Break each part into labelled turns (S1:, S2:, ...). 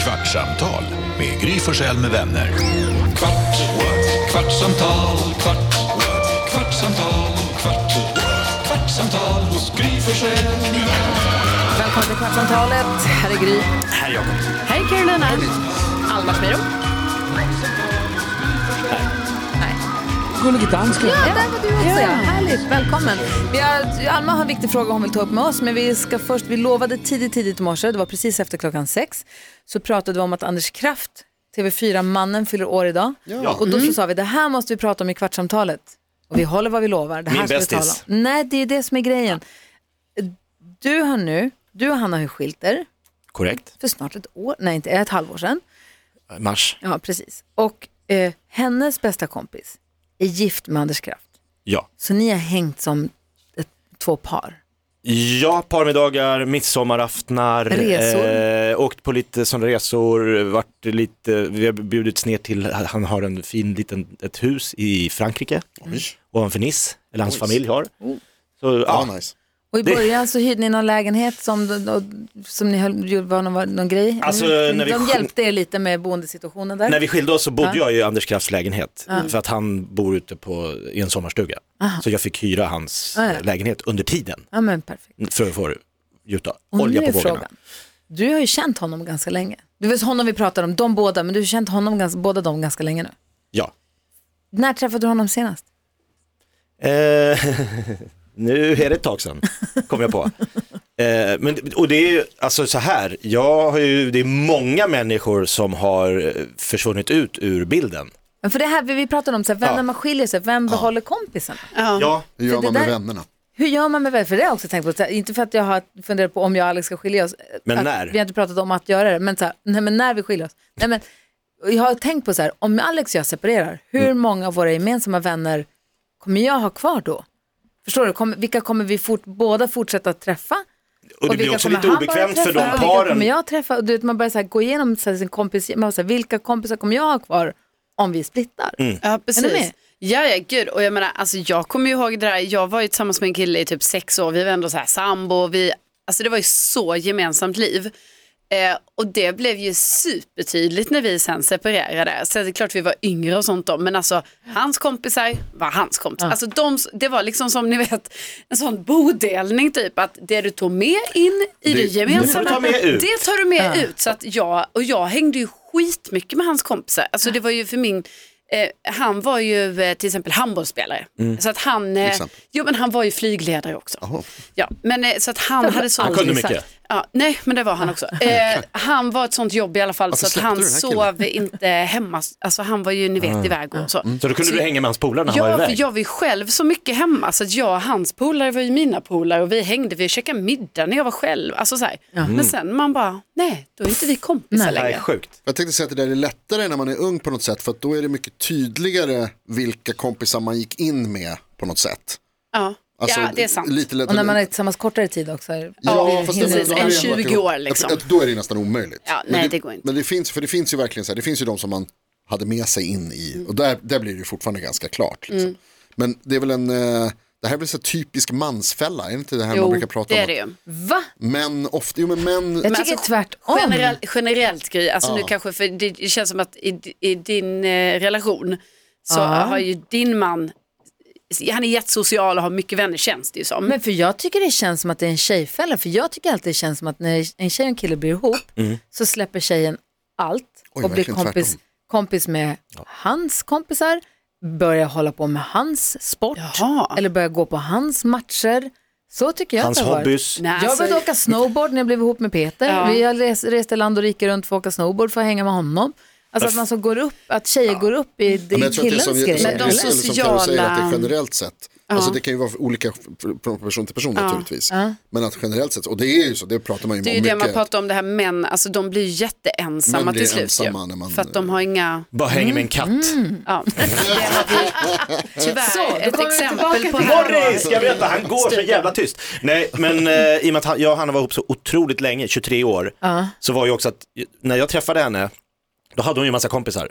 S1: Kvartsamtal med Gry Forssell med vänner. Kvart, what? kvartsamtal, kvart, what? kvartsamtal, kvart, what? kvartsamtal hos Gry Forssell med vänner.
S2: Välkommen till Kvartsamtalet. Här är Gry.
S3: Här är Jakob.
S2: Hej Carolina. Alma Schmeiro. Nej.
S3: Gullige dansken.
S2: Ja, där var du också ja. Härligt, välkommen. Vi har, Alma har en viktig fråga hon vill ta upp med oss, men vi ska först, vi lovade tidigt, tidigt i morse, det var precis efter klockan sex, så pratade vi om att Anders Kraft, TV4-mannen, fyller år idag. Och
S3: Mm.
S2: då så sa vi, det här måste vi prata om i Kvartsamtalet. Och vi håller vad vi lovar. Det här
S3: Min
S2: ska vi tala
S3: bästis.
S2: om. Nej, det är det som är grejen. Du har nu, du och Hanna har ju skilt er
S3: Korrekt.
S2: för snart ett år, nej inte ett halvår sedan.
S3: Mars.
S2: Ja, precis. Och eh, hennes bästa kompis är gift med Anders Kraft.
S3: Ja.
S2: Så ni har hängt som ett, två par.
S3: Ja, parmiddagar, midsommaraftnar,
S2: Resor.
S3: Eh, åkt på lite sådana resor, varit lite, vi har bjudits ner till, han har en fin liten, ett hus i Frankrike, ovanför Nice, eller hans familj har. Så,
S4: Oh. Ja,
S3: ja.
S4: nice.
S2: Och i
S3: Det-
S2: början så hyrde ni någon lägenhet som, som ni höll, gjorde- var någon, någon grej.
S3: Alltså,
S2: Mm.
S3: när vi
S2: De
S3: sjö-
S2: hjälpte er lite med boendesituationen där.
S3: När vi skilde oss så bodde
S2: Ja.
S3: jag i Anders Krafts lägenhet, för att han bor ute på, i en sommarstuga. Så jag fick hyra hans
S2: Ja, ja.
S3: eh, lägenhet under tiden,
S2: Ja, men perfekt.
S3: för att få gjuta
S2: Och nu
S3: olja på
S2: är
S3: vågorna.
S2: frågan. Du har ju känt honom ganska länge. Det var honom vi pratar om, de båda, men du har känt honom ganska, båda de ganska länge nu.
S3: Ja.
S2: När träffade du honom senast?
S3: Eh, nu är det ett tag sedan, kom jag på. Eh, men, och det är ju, alltså så här, jag har ju, det är många människor som har eh, försvunnit ut ur bilden.
S2: Men För det här vi vi pratade om, så här, vem
S3: Ja.
S2: när man skiljer sig, vem behåller kompisarna?
S3: Ja.
S4: Hur gör
S2: För det
S4: man med
S2: där-
S4: vännerna?
S2: Hur gör man med vänner? För det har jag också tänkt på. Så här, Inte för att jag har funderat på om jag och Alex ska skilja oss.
S3: Men
S2: att,
S3: när?
S2: Vi har inte pratat om att göra det, men, så här, nej, men när vi skiljer oss. Nej, men, jag har tänkt på så här, om Alex och jag separerar, hur
S4: Mm.
S2: många av våra gemensamma vänner kommer jag ha kvar då? Förstår du? Kommer, vilka kommer vi fort, båda fortsätta att träffa?
S3: Och det
S2: vilka
S3: blir också
S2: kommer
S3: lite
S2: han bara
S3: obekvämt för de
S2: träffa? Och Vilka kommer
S3: paren.
S2: jag träffa? Och du vet, man börjar så här, gå igenom så här, sin kompis, man bara så här, vilka kompisar kommer jag ha kvar om vi splittar?
S3: Mm.
S5: Ja,
S2: Är ni
S5: precis.
S2: med?
S5: Ja, ja, gud. Och jag menar, alltså, jag kommer ju ihåg det där, jag var ju tillsammans med en kille i typ sex år, vi var ändå så här sambo, vi, alltså det var ju så gemensamt liv. Eh, och det blev ju supertydligt när vi sen separerade. Så det är klart vi var yngre och sånt då, men alltså hans kompisar var hans kompisar. Alltså de, det var liksom som ni vet, en sån bodelning typ, att det du tog med in i det,
S4: Det-
S5: gemensamma,
S3: det får du ta med ut.
S5: det tar du med ut. Så att jag, och jag hängde ju skitmycket med hans kompisar. Alltså det var ju för min, eh, han var ju eh, till exempel handbollsspelare. Så att han, eh,
S4: Mm. exempel.
S5: jo men han var ju flygledare också.
S4: Jaha.
S5: Ja, men eh, så att han hade så...
S3: Han kunde mycket.
S5: Ja, nej, men det var han också. Eh, han var ett sånt jobb i alla fall
S4: Varför
S5: så att han
S4: släppte du den här Ah.
S5: sov inte hemma. Alltså han var ju, ni vet, iväg och så.
S4: Mm.
S3: Så då kunde du hänga med hans polare när han
S5: Ja,
S3: var
S5: för
S3: iväg.
S5: jag var ju själv så mycket hemma så att jag och hans polare var ju mina polare och vi hängde, vi käkade middag när jag var själv. Alltså så här.
S4: Mm.
S5: Men sen man bara, nej, då är inte vi kompisar
S3: Nej,
S5: längre.
S3: sjukt.
S4: Jag tänkte säga att det där är lättare när man är ung på något sätt för att då är det mycket tydligare vilka kompisar man gick in med på något sätt.
S5: Ja.
S4: Alltså,
S5: ja, det är sant.
S4: Lite lättare.
S2: Och när man är tillsammans kortare tid också. Ja,
S4: Ja, fast det-
S5: precis.
S4: då har
S5: En
S4: det ju varit
S5: 20
S4: ihop.
S5: år, liksom.
S4: Att- att Då är det ju nästan omöjligt.
S5: Ja,
S4: Men
S5: nej, det går inte.
S4: Men det finns, för det finns ju verkligen så här, det finns ju de som man hade med sig in
S5: Mm.
S4: i och där, där blir det ju fortfarande ganska klart. Liksom. Men det är väl en, eh, det här är väl så här typisk mansfälla, är det inte det här man
S5: Jo,
S4: brukar prata
S5: det
S4: om?
S5: är det
S4: att
S5: ju.
S2: Va?
S4: Män ofta, jo men män,
S2: Jag tycker
S5: alltså,
S2: tvärtom.
S5: Generell, generellt Gry, alltså nu kanske för det känns som att i, i din eh, relation så har ju din man, han är jättesocial och har mycket vänner känns det ju som.
S2: Men för jag tycker det känns som att det är en tjejfälla. För jag tycker alltid det känns som att när en tjej och en kille blir ihop så släpper tjejen allt
S4: Mm. Oj,
S2: och blir
S4: verkligen
S2: kompis,
S4: tvärtom.
S2: kompis med hans kompisar, börjar hålla på med hans sport
S5: Jaha.
S2: eller börjar gå på hans matcher. Så tycker jag
S3: Hans
S2: att det har varit.
S3: hobbys.
S5: Nej,
S2: jag
S5: alltså-
S2: började åka snowboard när jag blev ihop med Peter.
S5: Ja.
S2: Vi har res, reste land och rike runt för att åka snowboard för att hänga med honom. Alltså att man så går upp, att tjejer går upp i, i
S4: Ja, men jag tror att det är
S2: killens
S4: som, som,
S2: grejer.
S4: som,
S5: Men de
S4: eller som Karo säger att det är
S5: sociala-
S4: generellt sett. Alltså det kan ju vara olika från person till person naturligtvis. Men att generellt sett, och det är ju så, det pratar man ju
S5: Det är ju
S4: om
S5: det
S4: mycket.
S5: man pratar om, det här män, alltså de blir ju jätteensamma
S4: Män blir
S5: till slut
S4: ensamma
S5: ju,
S4: när man-
S5: För att de har inga,
S3: Bara hänger med en katt.
S2: Mm,
S5: ja, det har vi tyvärr
S2: Så, då
S5: ett
S2: kommer vi
S5: exempel på
S2: tillbaka
S5: här
S3: Morris,
S5: då.
S2: Alltså,
S3: ska jag berätta, han går så jävla tyst. Nej, men eh, i och med att han, jag och Hanna var ihop så otroligt länge, 23 år, så var ju också att när jag träffade henne, då hade hon ju massa kompisar.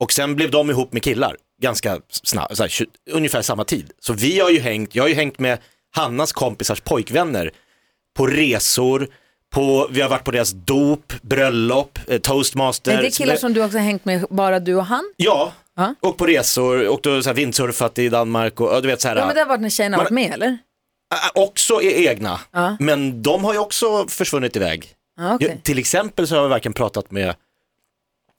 S3: Och sen blev de ihop med killar, ganska snabbt, så här, tju- ungefär samma tid. Så vi har ju hängt, jag har ju hängt med Hannas kompisars pojkvänner på resor, På, vi har varit på deras dop, bröllop, eh, toastmaster.
S2: Men det är killar som du också har hängt med, bara du och han?
S3: Ja,
S2: Ja.
S3: och på resor, och då så här vindsurfat i Danmark och ja, du vet så här.
S2: Ja, men det har varit när tjejerna har varit med eller?
S3: Ä- Också är egna,
S2: Ja.
S3: men de har ju också försvunnit iväg.
S2: Ja, okej.
S3: Jag, till exempel så har jag varken pratat med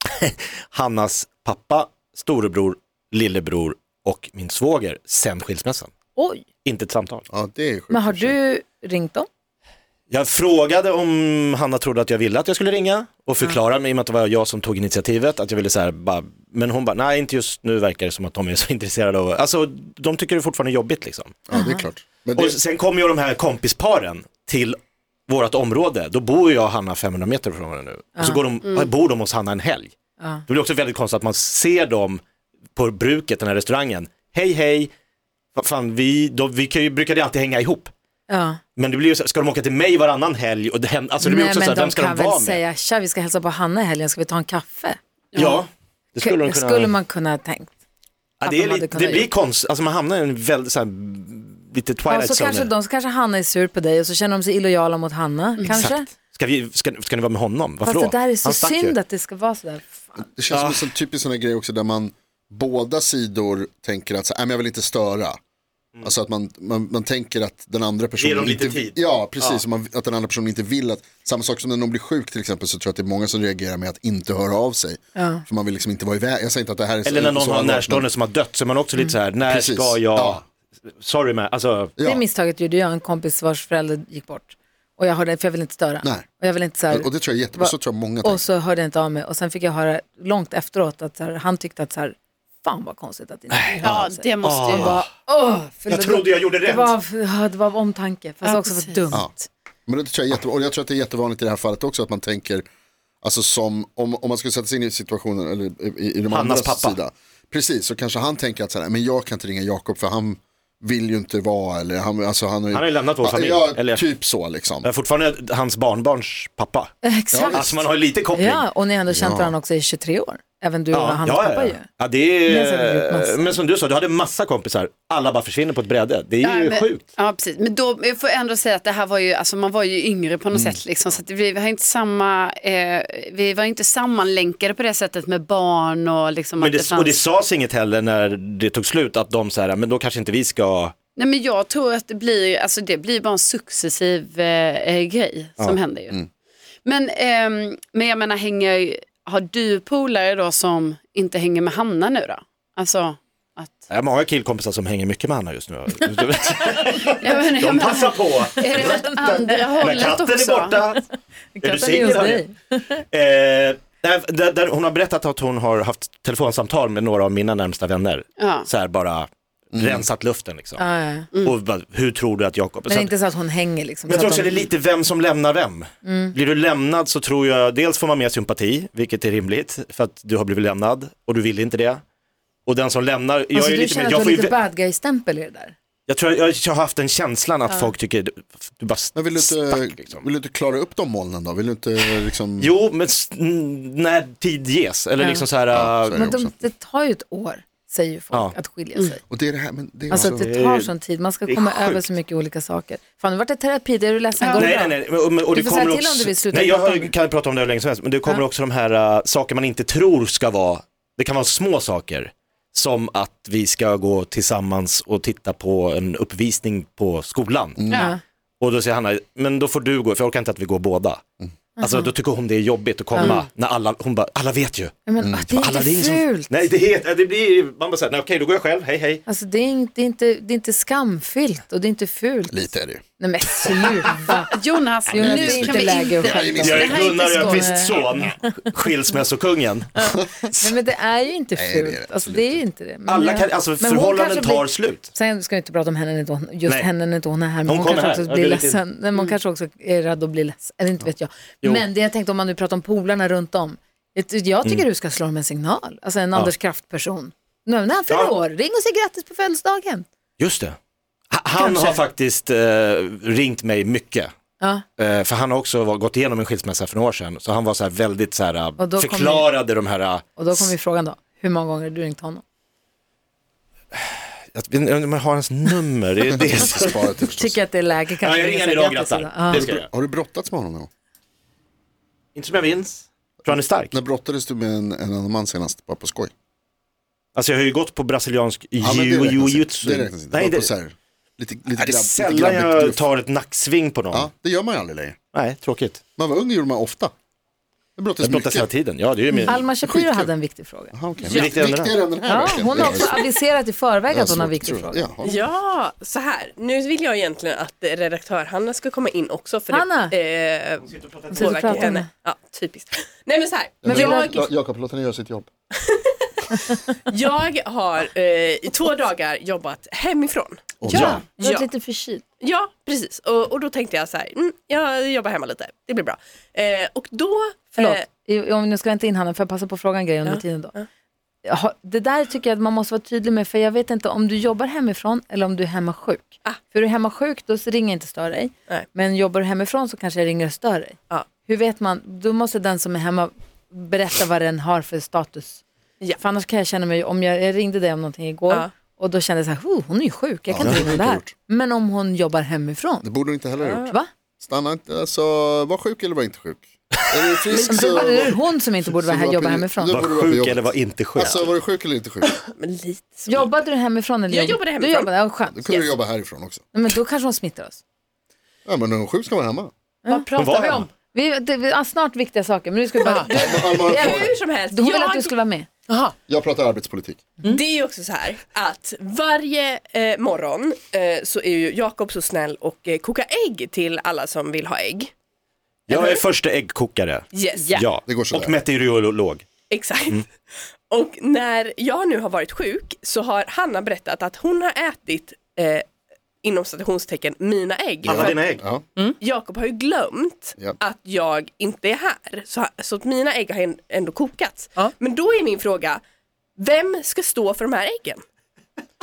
S3: Hannas pappa, storebror, lillebror och min svåger sen skilsmässan.
S2: Oj,
S3: Inte ett samtal.
S4: Ja, det är sjukt.
S2: men har du ringt dem?
S3: Jag frågade om Hanna trodde att jag ville att jag skulle ringa och förklara, men i och med att det var jag som tog initiativet, att jag ville så här, bara, men hon bara, nej inte just nu verkar det som att de är så intresserade av, alltså de tycker det fortfarande är jobbigt liksom.
S4: Ja, det är klart. Men
S3: Och
S4: det,
S3: sen kom ju de här kompisparen till vårt område, då bor ju jag och Hanna 500 meter från varandra nu. Och så går de, bor de hos Hanna en helg.
S2: Mm. Ja.
S3: Det blir också väldigt konstigt att man ser dem på bruket, den här restaurangen. Hej hej, vad fan, vi, de, vi kan ju, brukade ju alltid hänga ihop.
S2: Ja.
S3: Men det blir ju så, ska de åka till mig varannan helg? Och det, händer- alltså det blir
S2: Nej,
S3: också så
S2: men
S3: här,
S2: de
S3: vem ska
S2: kan
S3: de vara
S2: väl
S3: med?
S2: säga, tja vi ska hälsa på Hanna i helgen, ska vi ta en kaffe?
S3: Ja, det skulle de kunna.
S2: skulle man kunna ha tänkt.
S3: ja,
S2: att
S3: det
S2: de
S3: är
S2: hade
S3: lite,
S2: kunnat
S3: det blir
S2: gjort.
S3: konstigt, alltså man hamnar i en väldigt så här, lite
S2: Ja,
S3: twilight
S2: så kanske,
S3: zone.
S2: de, så kanske Hanna är sur på dig och så känner de sig illojala mot Hanna,
S5: Mm.
S2: kanske?
S3: Ska, vi, ska, ska ni vara med honom? Varför
S2: Fast det
S3: då?
S2: där är så
S3: Han stack ju.
S2: synd att det ska vara sådär. Fan.
S4: det känns som en sån typisk sån här grej också där man båda sidor tänker att så, här, "Nej, men jag vill inte störa. Alltså att man, man, man tänker att den andra personen
S3: dem lite
S4: inte,
S3: tid.
S4: Ja, precis. Och man, att den andra personen inte vill att, samma sak som när någon blir sjuk till exempel så tror jag att det är många som reagerar med att inte höra av sig. För man vill liksom inte vara iväg. Jag säger inte att det här är så-
S3: Eller när någon
S4: så
S3: har en
S4: allvarligt,
S3: närstående
S4: men-
S3: som har dött så är man också lite så här, när
S4: Precis.
S3: ska jag,
S4: Ja.
S3: sorry man, alltså,
S2: Det
S4: Ja.
S2: misstaget gjorde jag, en kompis vars förälder gick bort. Och jag hörde, det, för jag ville inte störa.
S4: Nej.
S2: Och jag ville inte såhär,
S4: Och det tror jag är jättebra, så tror jag många tänker.
S2: och så hörde jag inte av mig. Och sen fick jag höra långt efteråt att såhär, han tyckte att såhär, fan vad konstigt att inte vi hörde
S5: Ja,
S2: av sig.
S5: det måste ju
S3: Ah.
S5: vara.
S2: Åh, för
S3: jag
S2: det-
S3: trodde jag gjorde
S2: det
S3: rätt.
S2: var, av- ja, det var av omtanke, fast
S5: Ja,
S2: också för
S5: precis.
S2: dumt.
S4: Ja. Men det tror jag, är jätte- och jag tror att det är jättevanligt i det här fallet också att man tänker, alltså som, om, om man skulle sätta sig in i situationen, eller i, i de
S3: Hannas
S4: andras
S3: pappa.
S4: sida. Precis, så kanske han tänker att så här, men jag kan inte ringa Jakob för han vill ju inte vara, eller han, alltså han,
S3: Han har ju lämnat vår familj,
S4: Ja,
S3: eller?
S4: typ så liksom.
S3: Jag är fortfarande hans barnbarns pappa.
S2: Eh, Exakt.
S3: Alltså man har ju lite koppling.
S2: Ja, och ni har ändå känt varandra också i 23 år. Även du och hans pappa ju.
S3: ja, det
S2: Ni har säkert gjort
S3: är,
S2: massa.
S3: men som du sa, du hade massa kompisar, alla bara försvinner på ett bräde. Det är ju
S5: men,
S3: sjukt.
S5: Ja, precis. Men då jag får jag ändå säga att det här var ju, alltså man var ju yngre på något
S3: Mm.
S5: sätt liksom, så att vi, vi har inte samma, eh, vi var inte sammanlänkade på det sättet med barn och liksom
S3: Men
S5: att det,
S3: det,
S5: fanns.
S3: och det sades inget heller när det tog slut att de så här, men då kanske inte vi ska,
S5: Nej men jag tror att det blir, alltså det blir bara en successiv eh, eh, grej som händer ju.
S3: Mm.
S5: Men, ehm, men jag menar, hänger, har du polare då som inte hänger med Hanna nu då? Alltså, att...
S3: jag har många killkompisar som hänger mycket med Hanna just nu.
S5: Jag menar, jag
S3: de
S5: menar,
S3: passar på.
S5: är det åt andra
S3: När
S5: hållet
S3: katten
S5: också?
S3: är borta. Är du
S2: Katten är hos
S3: singel? hörni?
S2: dig.
S3: Eh, där, där, där hon har berättat att hon har haft telefonsamtal med några av mina närmsta vänner.
S5: Ja.
S3: Så här bara
S4: Mm.
S3: rensat luften liksom.
S2: Ja, ja.
S3: Och bara, hur tror du att Jakob...
S2: Men
S3: Så att-
S2: inte så att hon hänger liksom.
S3: men
S2: så
S3: jag tror
S2: att
S3: också
S2: de-
S3: det är lite vem som lämnar vem.
S2: Mm.
S3: Blir du lämnad så tror jag, dels får man mer sympati, vilket är rimligt, för att du har blivit lämnad och du vill inte det. Och den som lämnar, jag
S2: alltså,
S3: är
S2: du
S3: lite
S2: känner
S3: mer,
S2: att
S3: jag,
S2: du har
S3: får ju,
S2: lite bad guy-stämpel i det där.
S3: jag tror jag, jag har haft den känslan att folk tycker, du, du bara
S4: Men vill du, inte,
S3: stack liksom.
S4: vill du inte klara upp de molnen då? Vill du inte liksom,
S3: Jo, men s- n- när tid ges, eller
S2: Ja.
S3: liksom så här,
S4: Ja,
S3: äh,
S4: så är
S2: Men de,
S4: också.
S2: det tar ju ett år, säger ju folk,
S3: Ja. Mm.
S2: att skilja sig.
S4: och det är det här, men det är
S2: Alltså att
S4: också,
S2: det tar sån tid, man ska
S3: är
S2: komma
S3: sjukt.
S2: över så mycket olika saker. Fan, nu vart det terapi, det är du ledsen, går det
S3: Nej,
S2: bra?
S3: nej, nej. men- men- Och
S2: Du
S3: det
S2: får säga
S3: kommer
S2: till
S3: också,
S2: om du vill sluta
S3: Nej,
S2: prata om det.
S3: jag kan prata om det hur länge som helst, men det kommer också de här äh, saker man inte tror ska vara, det kan vara små saker, som att vi ska gå tillsammans och titta på en uppvisning på skolan.
S5: Ja.
S3: Och då säger Hanna, men då får du gå, för jag orkar inte att vi går båda. Alltså då tycker hon det är jobbigt att komma när alla, hon bara, alla vet ju.
S2: Ja, Men, ah, det är inte
S3: Alla, Mm. det är ingen som-
S2: fult.
S3: Nej, det, är, helt- det blir, man bara säger, nej okej då går jag själv, hej hej.
S2: Alltså det är, inte, det, är inte, det är inte skamfyllt och det är inte fult.
S4: lite är det ju.
S2: Nej men sluta.
S5: Jonas,
S2: Jo,
S5: nu
S2: nu är det
S5: kan
S2: inte
S5: vi
S2: läge att
S5: inte...
S2: skämta.
S5: Det
S3: Jag
S5: här
S3: är Gunnar
S5: inte skoj.
S3: Öqvists son, skilsmässokungen.
S2: Nej men det är ju inte
S4: Nej, det är det
S2: fult. alltså det är ju inte det. Men,
S3: Alla
S2: jag-
S3: kan, alltså
S2: men hon
S3: förhållanden
S2: kanske blir-
S3: tar slut.
S2: Sen ska vi inte prata om henne, när inte hon, just
S3: Nej.
S2: henne när inte hon är här, men
S3: Hon
S2: hon,
S3: kommer
S2: kanske
S3: här.
S2: också
S3: Ja,
S2: blir
S3: det vet
S2: ledsen.
S3: Mm.
S2: Nej, men hon kanske också är rädd att bli ledsen, eller inte vet jag.
S3: Jo.
S2: Men det jag tänkte om man nu pratar om polarna runt om, ett- jag tycker
S3: Mm.
S2: du ska slå dem en signal, alltså en Anders Kraft-person. Nu när han fyller
S3: Ja.
S2: år, ring och säg grattis på födelsedagen.
S3: Just det. Ha- Han
S2: Kanske.
S3: har faktiskt eh, ringt mig mycket.
S2: Ja.
S3: Eh, för han har också var, gått igenom en skilsmässa för några år sedan. Så han var så här väldigt så här,
S2: Och då kom
S3: eh, förklarade de här, eh,
S2: Och då kommer ju frågan då, hur många gånger har du ringt honom?
S3: jag vet inte om jag har hans nummer. Det är det.
S4: Sparat det förstås.
S2: Tycker att det är läge kanske.
S3: ja, jag
S2: att
S3: ringer
S2: säga
S3: idag
S2: grattis
S3: grattar.
S2: idag. Ja.
S3: Det ska jag göra.
S4: Har du brottats med honom någon gång?
S3: Inte som jag minns. Tror han är stark.
S4: När brottades du med en, en annan man senast, bara på skoj?
S3: Alltså jag har ju gått på brasiliansk
S4: men det räknas
S3: jiu-jitsu.
S4: inte. Det räknas inte.
S3: Nej,
S4: Nej,
S3: det,
S4: På så här, lite, lite,
S3: nej, det är
S4: grabb-
S3: sällan
S4: lite grabbigt
S3: jag
S4: gruff.
S3: tar ett nacksving på någon.
S4: Ja, det gör man ju aldrig längre.
S3: Nej, tråkigt.
S4: Man var ung gjorde man ofta. Det
S3: Jag
S4: brottades
S3: brottas hela
S4: mycket.
S3: tiden. Ja, det är ju min...
S2: Alma Shapiro hade en viktig fråga.
S4: Aha, okay.
S3: Ja. Viktigare än den här.
S4: Viktigare än den här.
S2: Ja,
S4: verkligen.
S2: hon har också aviserat i förväg att hon har en
S4: svårt
S2: viktig
S4: att tro
S2: fråga.
S4: Alltså, det. Jaha.
S6: Ja, så här. Nu vill jag egentligen att eh, redaktör Hanna ska komma in också. För
S2: Hanna!
S6: Det, eh,
S2: sitter och
S6: påverkar
S2: pratar
S6: ju
S2: med
S6: henne. Ja, typiskt. Nej men så här.
S2: Men vill
S6: jag,
S4: Ja, Jakob, låt henne göra sitt jobb.
S6: jag har eh, i två dagar jobbat hemifrån.
S2: Ja, du har
S6: Ja.
S2: varit lite förkyld.
S6: Ja, precis. Och, och då tänkte jag så här, mm, jag jobbar hemma lite, det blir bra. Eh, och då...
S2: Förlåt,
S6: eh,
S2: I- om nu ska jag inte in handen, för jag passa på att fråga en grej under tiden då. Jaha, Det där tycker jag att man måste vara tydlig med, för jag vet inte om du jobbar hemifrån eller om du är hemma sjuk.
S6: Ah.
S2: För är du hemma sjuk då så ringer jag inte och stör dig,
S6: Nej.
S2: men jobbar du hemifrån så kanske jag ringer och stör dig.
S6: Ja.
S2: Hur vet man? Då måste den som är hemma berätta vad den har för status.
S6: Ja.
S2: För annars kan jag känna mig, om jag, jag ringde dig om någonting igår
S6: Ja.
S2: och då kände jag så här, "Oh, hon är ju sjuk, jag kan
S4: Ja,
S2: inte
S4: det
S2: ringa
S4: har
S2: om det
S4: jag
S2: här.
S4: inte gjort.
S2: Men om hon jobbar hemifrån,
S4: Det borde hon inte heller ha gjort.
S2: va?
S4: Stanna inte, alltså var sjuk eller var inte sjuk. Är du frisk
S2: Det
S4: så...
S2: var- det är hon som inte borde vara här,
S4: Så-
S2: jobba hemifrån.
S4: Då
S3: Var
S4: borde du vara på
S3: sjuk
S4: jobbet.
S3: eller var inte sjuk.
S4: Alltså var du sjuk eller inte sjuk?
S6: men lite så.
S2: Jobbade du hemifrån? Eller
S6: Jag
S2: jobb-
S6: jobbade
S2: Du
S6: hemifrån.
S2: jobbade, ja,
S4: Då
S2: skönt.
S4: kunde du jobba härifrån också.
S2: Nej, Men då kanske hon smittar oss.
S4: Ja men när hon är sjuk ska man vara hemma.
S6: Vad pratar
S3: var
S6: vi
S3: han?
S6: om?
S2: Vi, det, vi, ja, snart viktiga saker, men nu ska vi bara... Du,
S4: Alma,
S6: Hur som helst.
S2: hon
S6: jag,
S2: ville att du Mm. skulle vara med.
S6: Aha.
S4: Jag pratar arbetspolitik.
S6: Det är ju också så här att varje eh, morgon eh, så är ju Jakob så snäll och eh, kokar ägg till alla som vill ha ägg.
S3: Jag är första äggkokare.
S6: Yes,
S3: Ja,
S4: Det går sådär.
S3: och meteorolog.
S6: exakt. Och när jag nu har varit sjuk så har Hanna berättat att hon har ätit eh, inom citationstecken mina ägg.
S3: Alla
S6: För-
S3: dina ägg.
S4: Ja.
S6: Jakob har ju glömt
S4: Ja.
S6: att jag inte är här. Så, så att mina ägg har en- ändå kokats. Men då är min fråga, vem ska stå för de här äggen?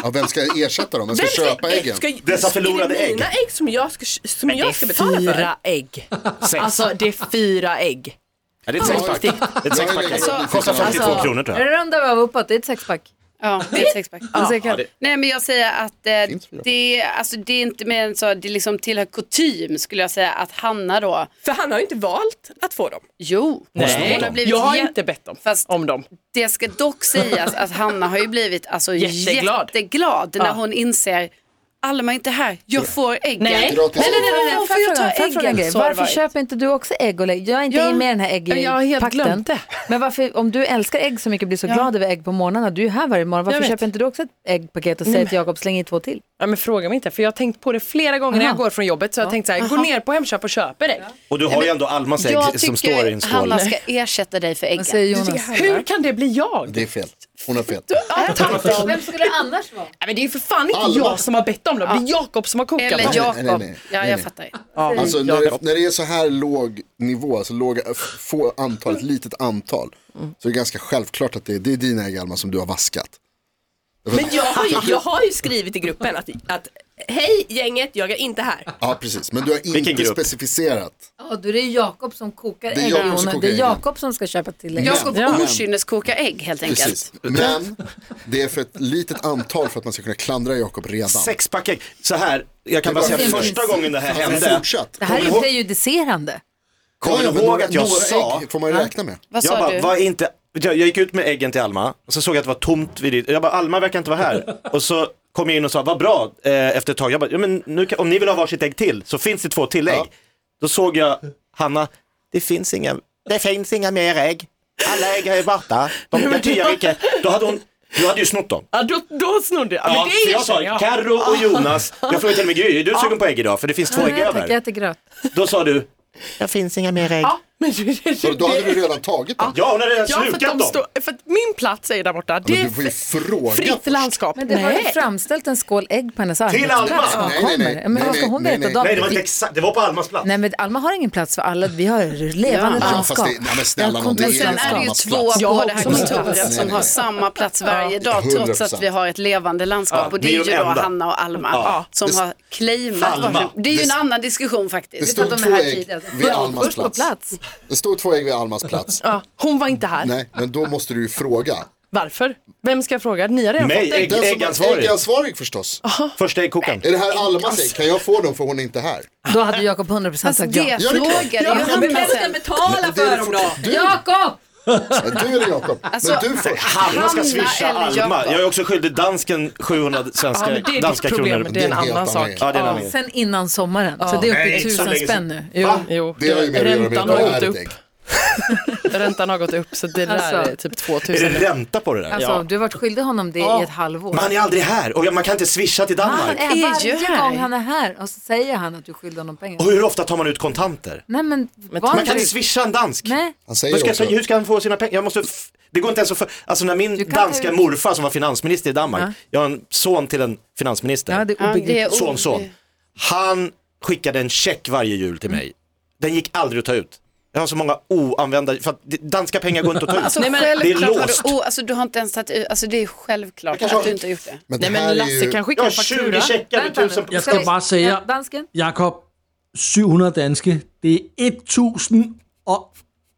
S4: Ja, vem ska ersätta dem? Vem ska
S6: Vem
S4: köpa äggen?
S6: ska-
S3: Dessa förlorade
S6: är det mina
S3: ägg.
S6: ägg som jag ska, som
S7: Men det
S6: jag ska
S7: är
S6: betala för?
S7: fyra ägg.
S3: Sex.
S7: Alltså det är fyra ägg.
S3: Ja, det är ett sexpack. Det är ett sexpack ägg.
S4: Alltså-
S3: Kostar 52
S2: Alltså-
S3: kronor tror jag.
S2: Runda av uppåt, det är ett sexpack.
S5: Ja, det är ett sexpack.
S2: Ja. Så jag kan-
S5: Nej men jag säger att eh,
S4: Finns fyra.
S5: det, alltså, det är inte mer än så, det liksom tillhör kutym skulle jag säga att Hanna då,
S6: För han har ju inte valt att få dem.
S5: jo,
S7: Nej,
S5: hon har blivit
S7: jag har
S5: jä-
S7: inte bett om,
S5: Fast-
S7: om dem.
S5: Det ska dock sägas att Hanna har ju blivit alltså,
S7: Jätteglad.
S5: jätteglad. när
S7: Ja.
S5: hon inser Alma är inte här, jag får äggen.
S7: Nej.
S4: Gratis.
S5: Nej, nej, nej, nej, nej.
S2: Får jag
S5: Får jag
S2: fråga-
S5: ta
S2: får jag fråga en
S5: äggen?
S2: grej?
S5: Så har det
S2: Varför
S5: varit.
S2: köper inte du också ägg och lägg? Jag är inte
S7: Ja,
S2: med i den här
S7: jag har helt
S2: äggpakten.
S7: glömt det.
S2: Men varför, om du älskar ägg så mycket och blir så glad över ägg på morgnarna, du är ju här varje morgon, varför
S7: Jag vet.
S2: köper inte du också ett äggpaket och säger till Jakob släng i två till?
S7: Ja, men fråga mig inte, för jag har tänkt på det flera gånger när
S2: Aha.
S7: jag går från jobbet. Så jag har tänkt så här, gå ner på Hemköp och köper det.
S3: Och du har ju ändå Almas ägg som står i en skål.
S5: Hanna ska ersätta dig för äggen.
S2: Vad säger Jonas?
S7: Hur kan det bli jag?
S4: Det är fel. Hon har fel.
S2: Vem skulle det annars vara?
S7: Nej, men det är ju för fan inte
S4: Alma.
S7: jag som har bett om dem, det är Jakob som har kokat
S5: Eller
S7: dem.
S4: jag- nej, nej,
S5: Jakob.
S4: nej.
S5: Ja,
S4: Nej,
S5: jag
S4: nej.
S5: fattar.
S4: Alltså när det, när det är så här låg nivå, alltså låga, f- få antal, ett litet antal. Så är det ganska självklart att det är, det är dina ägg Alma som du har vaskat.
S6: Men jag har ju, jag har ju skrivit i gruppen att, att hej gänget, jag är inte här.
S4: Ja precis, men du har
S3: Vilken
S4: inte
S3: grupp?
S4: specificerat.
S2: Ja, då är det Jakob som kokar
S4: är
S2: ägg,
S4: Jakob som
S2: Jonas.
S4: kokar
S2: Det är
S4: äggen.
S2: Jakob som ska köpa till ägg.
S5: Jakob
S4: Ja.
S5: okynneskoka ägg helt enkelt.
S4: Precis. Men det är för ett litet antal för att man ska kunna klandra Jakob redan.
S3: Sexpack ägg. Så här, jag kan bara säga
S2: Fint.
S3: första gången det här
S4: Men
S3: hände.
S4: Alltså, fortsatt.
S2: Det här
S3: Kommer
S2: är
S3: du ihåg-
S2: prejudicerande.
S3: Kommer
S4: Ja,
S3: du
S4: men
S3: ihåg
S4: några-
S3: att jag
S4: några
S3: sa?
S4: ägg får man ju räkna med.
S5: Vad
S3: Jag
S5: sa
S3: bara,
S5: du?
S3: vad är inte... Jag, jag gick ut med äggen till Alma och så såg jag att det var tomt vid ditt... Jag bara, Alma verkar inte vara här. Och så kom jag in och sa, vad bra, eh, efter ett tag. Jag bara, ja, men nu kan, om ni vill ha varsitt ägg till så finns det två tillägg.
S4: Ja.
S3: Då såg jag, Hanna, det finns inga, det finns inga mer ägg. Alla ägg är borta. De betyder inte. Då hade hon, du hade ju snott dem.
S7: Ja, då, då snodde jag. Ja, Ah.
S3: Ja,
S7: men
S3: för
S7: det
S3: jag
S7: erkänner
S3: sa
S7: jag.
S3: Carro och Jonas, jag frågade till och med Gry, är du sugen på ägg idag? För det finns två ägg
S2: jag tackar, jag
S3: över.
S2: äter gröt.
S3: Då sa du, det finns inga mer ägg.
S7: Men det- det-
S4: Så då hade du redan tagit dem.
S3: Ja, hon hade redan
S7: Ja, för, att
S3: slukat
S7: de
S3: dem.
S7: står, för att min plats är där borta. Det
S4: Men
S7: är
S4: du får ju
S7: f-
S4: fråga.
S7: fritt landskap.
S2: Men det var ju framställt en skål ägg på hennes
S3: Alma!
S2: arbetsplats. Var
S4: Nej,
S2: kommer
S4: nej, nej.
S2: det? Men vad ska
S4: Nej,
S2: hon
S4: nej,
S2: veta
S4: nej.
S2: då?
S3: Nej, det var inte exakt, det var på Almas plats.
S2: Nej, men Alma har ingen plats för alla. Vi har levande
S4: Ja,
S2: landskap.
S4: fast det- nej, men snälla
S2: Jag
S4: nån, det är
S5: Men
S2: kommer
S5: sen
S2: till
S5: är det ju
S4: Samma
S5: två
S4: plats.
S5: på det här
S7: Jag också.
S5: kontoret som har samma plats varje dag trots
S4: 100%.
S5: att vi har ett levande landskap. Och det
S3: vi är
S5: är ju
S3: de
S5: då
S3: enda.
S5: Hanna och Alma
S3: Ja.
S5: som har claimat
S3: Alma.
S5: varsin. Det är ju en
S4: Det-
S5: annan diskussion faktiskt.
S4: Det stod två ägg vid Almas
S2: Först på
S4: plats.
S2: plats.
S4: Det stod två ägg vid Almas plats.
S7: Ja, hon var inte här.
S4: Nej, men då måste du ju fråga.
S7: Varför? Vem ska jag fråga? Ni har redan
S3: Mig,
S7: fått ägg.
S3: ägg.
S4: Den som
S3: Äggansvarig.
S4: är äggansvarig förstås.
S3: Första äggkokaren.
S4: Är det här Almas ägg? Kan jag få dem för hon är inte här?
S2: Då hade Jakob 100% sagt
S5: Alltså
S2: ja.
S5: det
S4: Ja, det är klart.
S5: frågade ju han
S6: Men vem
S5: mig
S6: ska
S5: sen.
S6: betala
S4: Det är
S6: för
S4: det
S6: dem då?
S4: Du,
S2: Jakob!
S4: du eller Jakob?
S5: Alltså-
S4: Men du först.
S3: Hanna ska
S5: Hanna
S3: swisha
S5: eller
S3: Alma.
S5: Jakob?
S3: Jag är också skyldig dansken 700
S7: Ja,
S3: svenska,
S7: men det är
S3: danska
S7: ditt problem,
S3: kronor.
S7: det är en
S4: Det är helt
S7: annan sak.
S4: annan grej.
S3: Ja, det är en annan grej.
S2: Sen innan sommaren. Så det är uppe i
S3: Nej, så
S2: tusen
S3: länge sedan.
S2: spänn nu. Jo.
S7: Jo,
S4: Det har ju mer att göra med
S7: räntan
S4: att det
S7: har
S4: är
S7: gått
S4: ett
S7: upp.
S4: ägg.
S7: Räntan har gått upp så det där
S2: Alltså.
S7: är typ
S3: Är
S7: 2000.
S3: det ränta på det där?
S2: Alltså,
S3: ja.
S2: Du har varit skyldig honom det i ett halvår.
S3: Men han är aldrig här och jag- man kan inte swisha till
S2: Han
S3: Danmark.
S2: är
S5: ju
S2: varje
S5: här.
S2: gång han är här och så säger han att du skyller honom pengar.
S3: Och hur ofta tar man ut kontanter?
S2: Nej men, var
S3: Man kan
S2: inte
S3: inte
S2: du...
S3: swisha en dansk.
S2: Nej.
S4: Han
S3: Vad ska
S4: säger
S3: jag
S4: också,
S3: säga, hur ska han få sina pengar? Jag måste f- det går inte ens att för... Alltså när min
S2: kan
S3: danska
S2: ju-
S3: morfar som var finansminister i Danmark,
S2: Ja.
S3: jag har en son till en finansminister,
S2: Ja, det är
S5: Ja,
S2: obegripligt.
S5: det är
S3: son,
S2: Eh.
S3: son.
S5: obegripligt.
S3: Han skickade en check varje jul till mig. Den gick aldrig att ta ut. Jag har så många oanvända, för att det- danska pengar går inte att ta ut.
S5: Alltså,
S7: Nej, men-
S5: självklart
S3: Det är
S5: har
S3: låst.
S5: Du, oh, alltså, du har inte ens tagit ut, alltså, det är självklart
S3: kanske
S5: att
S3: har-
S5: du inte har gjort det.
S4: men det
S7: Nej
S4: här
S7: men
S4: är
S7: Lasse
S4: ju...
S7: kan skicka
S3: Jag har
S7: en
S3: 20
S7: faktura.
S3: checkar med
S2: Vänta nu.
S3: tusen på
S8: Jag skal bare
S2: Ja,
S8: sige jer,
S2: dansken?
S8: Jakob, 700 danske, det er 1000 og,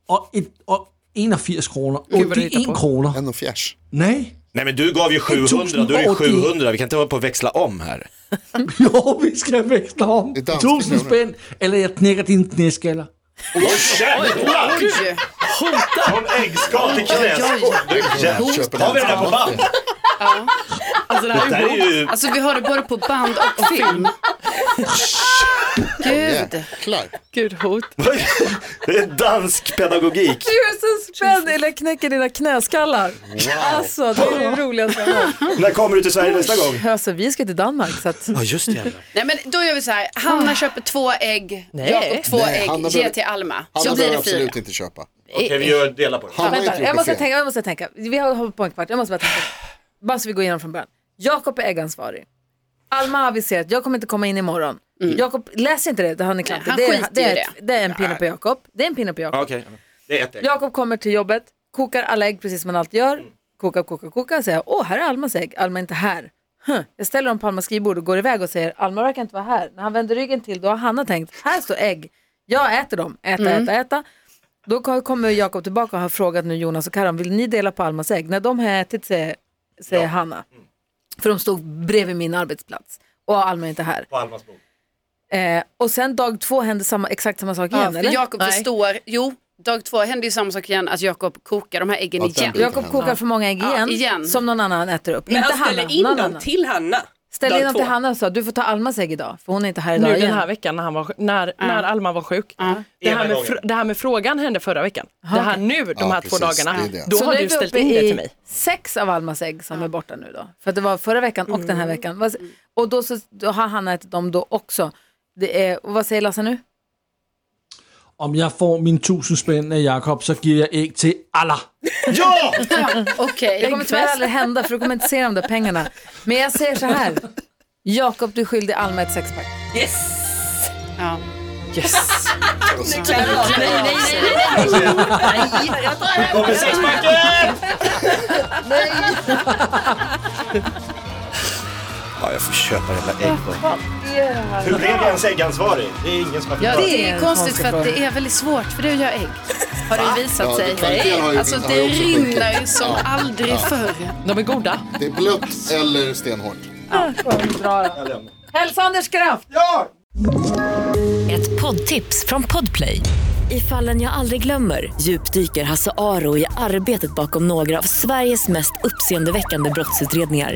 S8: og, et, og 81 kroner. Och
S7: Gud, hvad det
S8: det er
S7: heter
S8: 1
S7: på.
S8: kroner.
S4: En och fjärs.
S8: Nej,
S3: Nej men du gav ju 700, då är det ju
S8: 1080.
S3: 700, vi kan inte hålla på och växla om här.
S8: jo, vi skal veksle om.
S4: Det er danske
S8: 1000
S4: kroner.
S8: spænd, eller jeg knækker dine knæskaller.
S3: Jävlar!
S5: Oj,
S3: Från äggskal till knäskål.
S4: Köper
S3: Har vi den här på
S4: den.
S3: band?
S7: Alltså det här
S3: Det
S7: är
S3: här är ju
S5: Alltså vi har det både på band och film. Gud.
S4: Jäklar.
S7: gud hot.
S3: det är dansk pedagogik.
S2: Tusen spänn eller knäcker dina knäskallar. Alltså det är det roligaste jag har hört.
S3: När kommer du till Sverige nästa gång?
S2: Alltså vi ska till Danmark så att...
S3: Ja just det jävlar.
S5: Nej men då gör vi så här, Hanna köper två ägg,
S7: Nej.
S5: Jakob två
S4: Nej,
S5: ägg,
S4: Hanna
S5: ge
S4: behöver-
S5: till Alma.
S4: Hanna
S5: så blir
S4: behöver
S5: det fyra.
S4: absolut inte köpa.
S3: Okej vi gör delar på det.
S4: Han har inte
S2: Vänta, jag
S4: gjort
S2: måste
S4: det fel.
S2: tänka, jag måste tänka. Vi har hållit på en kvart, jag måste bara tänka. Bara så vi går igenom från början. Jakob är äggansvarig. Alma har aviserat, jag kommer inte komma in imorgon. Jakob, läs inte det, det har ni klant.
S5: Nej, han
S2: det, är-
S5: skiter
S2: det, är
S5: i
S2: ett- det är en pinne på Jakob. Det är en pinne på Jakob.
S3: Okej, det är ett ägg.
S2: Jakob kommer till jobbet, kokar alla ägg precis som man alltid gör. Kokar, kokar, kokar. Säger, åh, här är Almas ägg. Alma är inte här. Hm. Jag ställer dem på Almas skrivbord och går iväg och säger, Alma verkar inte vara här. När han vänder ryggen till, då har Hanna tänkt, här står ägg. Jag äter dem. Äta,
S5: Mm.
S2: äta, äta. Då ko- kommer Jakob tillbaka och har frågat nu Jonas och Karan, vill ni dela på Almas ägg? När de har ätit, säger, säger Hanna. För de stod bredvid min arbetsplats. Och Alma är inte här.
S3: På Almas bok.
S2: Eh, och sen dag två händer samma, exakt samma sak
S5: Ja,
S2: igen,
S5: för
S2: eller?
S5: Jakob förstår, jo, dag två händer ju samma sak igen, att Jakob kokar de här äggen
S4: Ja, den
S5: igen.
S4: blir-
S2: Jakob kokar för många ägg
S5: Ja,
S2: igen,
S5: igen.
S2: som någon annan äter upp.
S6: Men
S2: inte
S6: han ställer
S2: Hanna,
S6: in
S2: någon
S6: dem
S2: annan.
S6: till Hanna.
S2: Ställ
S6: dag
S2: in dem till
S6: två.
S2: Hanna och sa du får ta Almas ägg idag för hon är inte här idag
S7: Nu den
S2: igen.
S7: här veckan när, han var, när, när Alma var sjuk. Det,
S3: Ena
S7: här med,
S3: gången.
S7: fr- det här med frågan hände förra veckan. det här nu, de
S4: Ja,
S7: här två
S4: precis,
S7: dagarna,
S4: det är det.
S7: då
S2: Så
S7: har
S2: nu är
S7: du
S2: vi
S7: ställt
S2: uppe
S7: in det
S2: i
S7: till mig.
S2: Sex av Almas ägg som är borta nu då. För att det var förra veckan och
S7: Mm.
S2: den här veckan. Vad- Och då, så, då har Hanna ätit dem då också. Det är, och vad säger Lasse nu?
S8: Om jeg får mine 1000 spænd af Jakob, så giver jeg æg til Allah.
S3: Ja!
S5: Okej,
S2: Det kommer tyvärr aldrig hända för du kommer inte se de där pengarna. Men jag säger så här. Jakob, du är skyldig Alma ett sexpack.
S5: ja.
S7: Yes.
S3: Kommer sexpacken! Ja jag får köpa det jävla ägg då. Hur blev jag ens äggansvarig? Det är ingen som har
S5: Ja,
S3: förklarat.
S5: det är konstigt för att det är väldigt svårt för dig att göra ägg. Har det visat
S4: Ja, det-
S5: sig.
S4: kvaliteten har ju-
S5: alltså
S4: har ju
S5: det
S4: också
S5: rinner
S4: sjunkit.
S5: som
S4: Ja.
S5: aldrig förr.
S7: De är goda.
S4: Det är blött eller stenhårt.
S2: Hälsa Anders Kraft!
S9: Ett poddtips från Podplay. I fallen jag aldrig glömmer djupdyker Hasse Aro i arbetet bakom några av Sveriges mest uppseendeväckande brottsutredningar.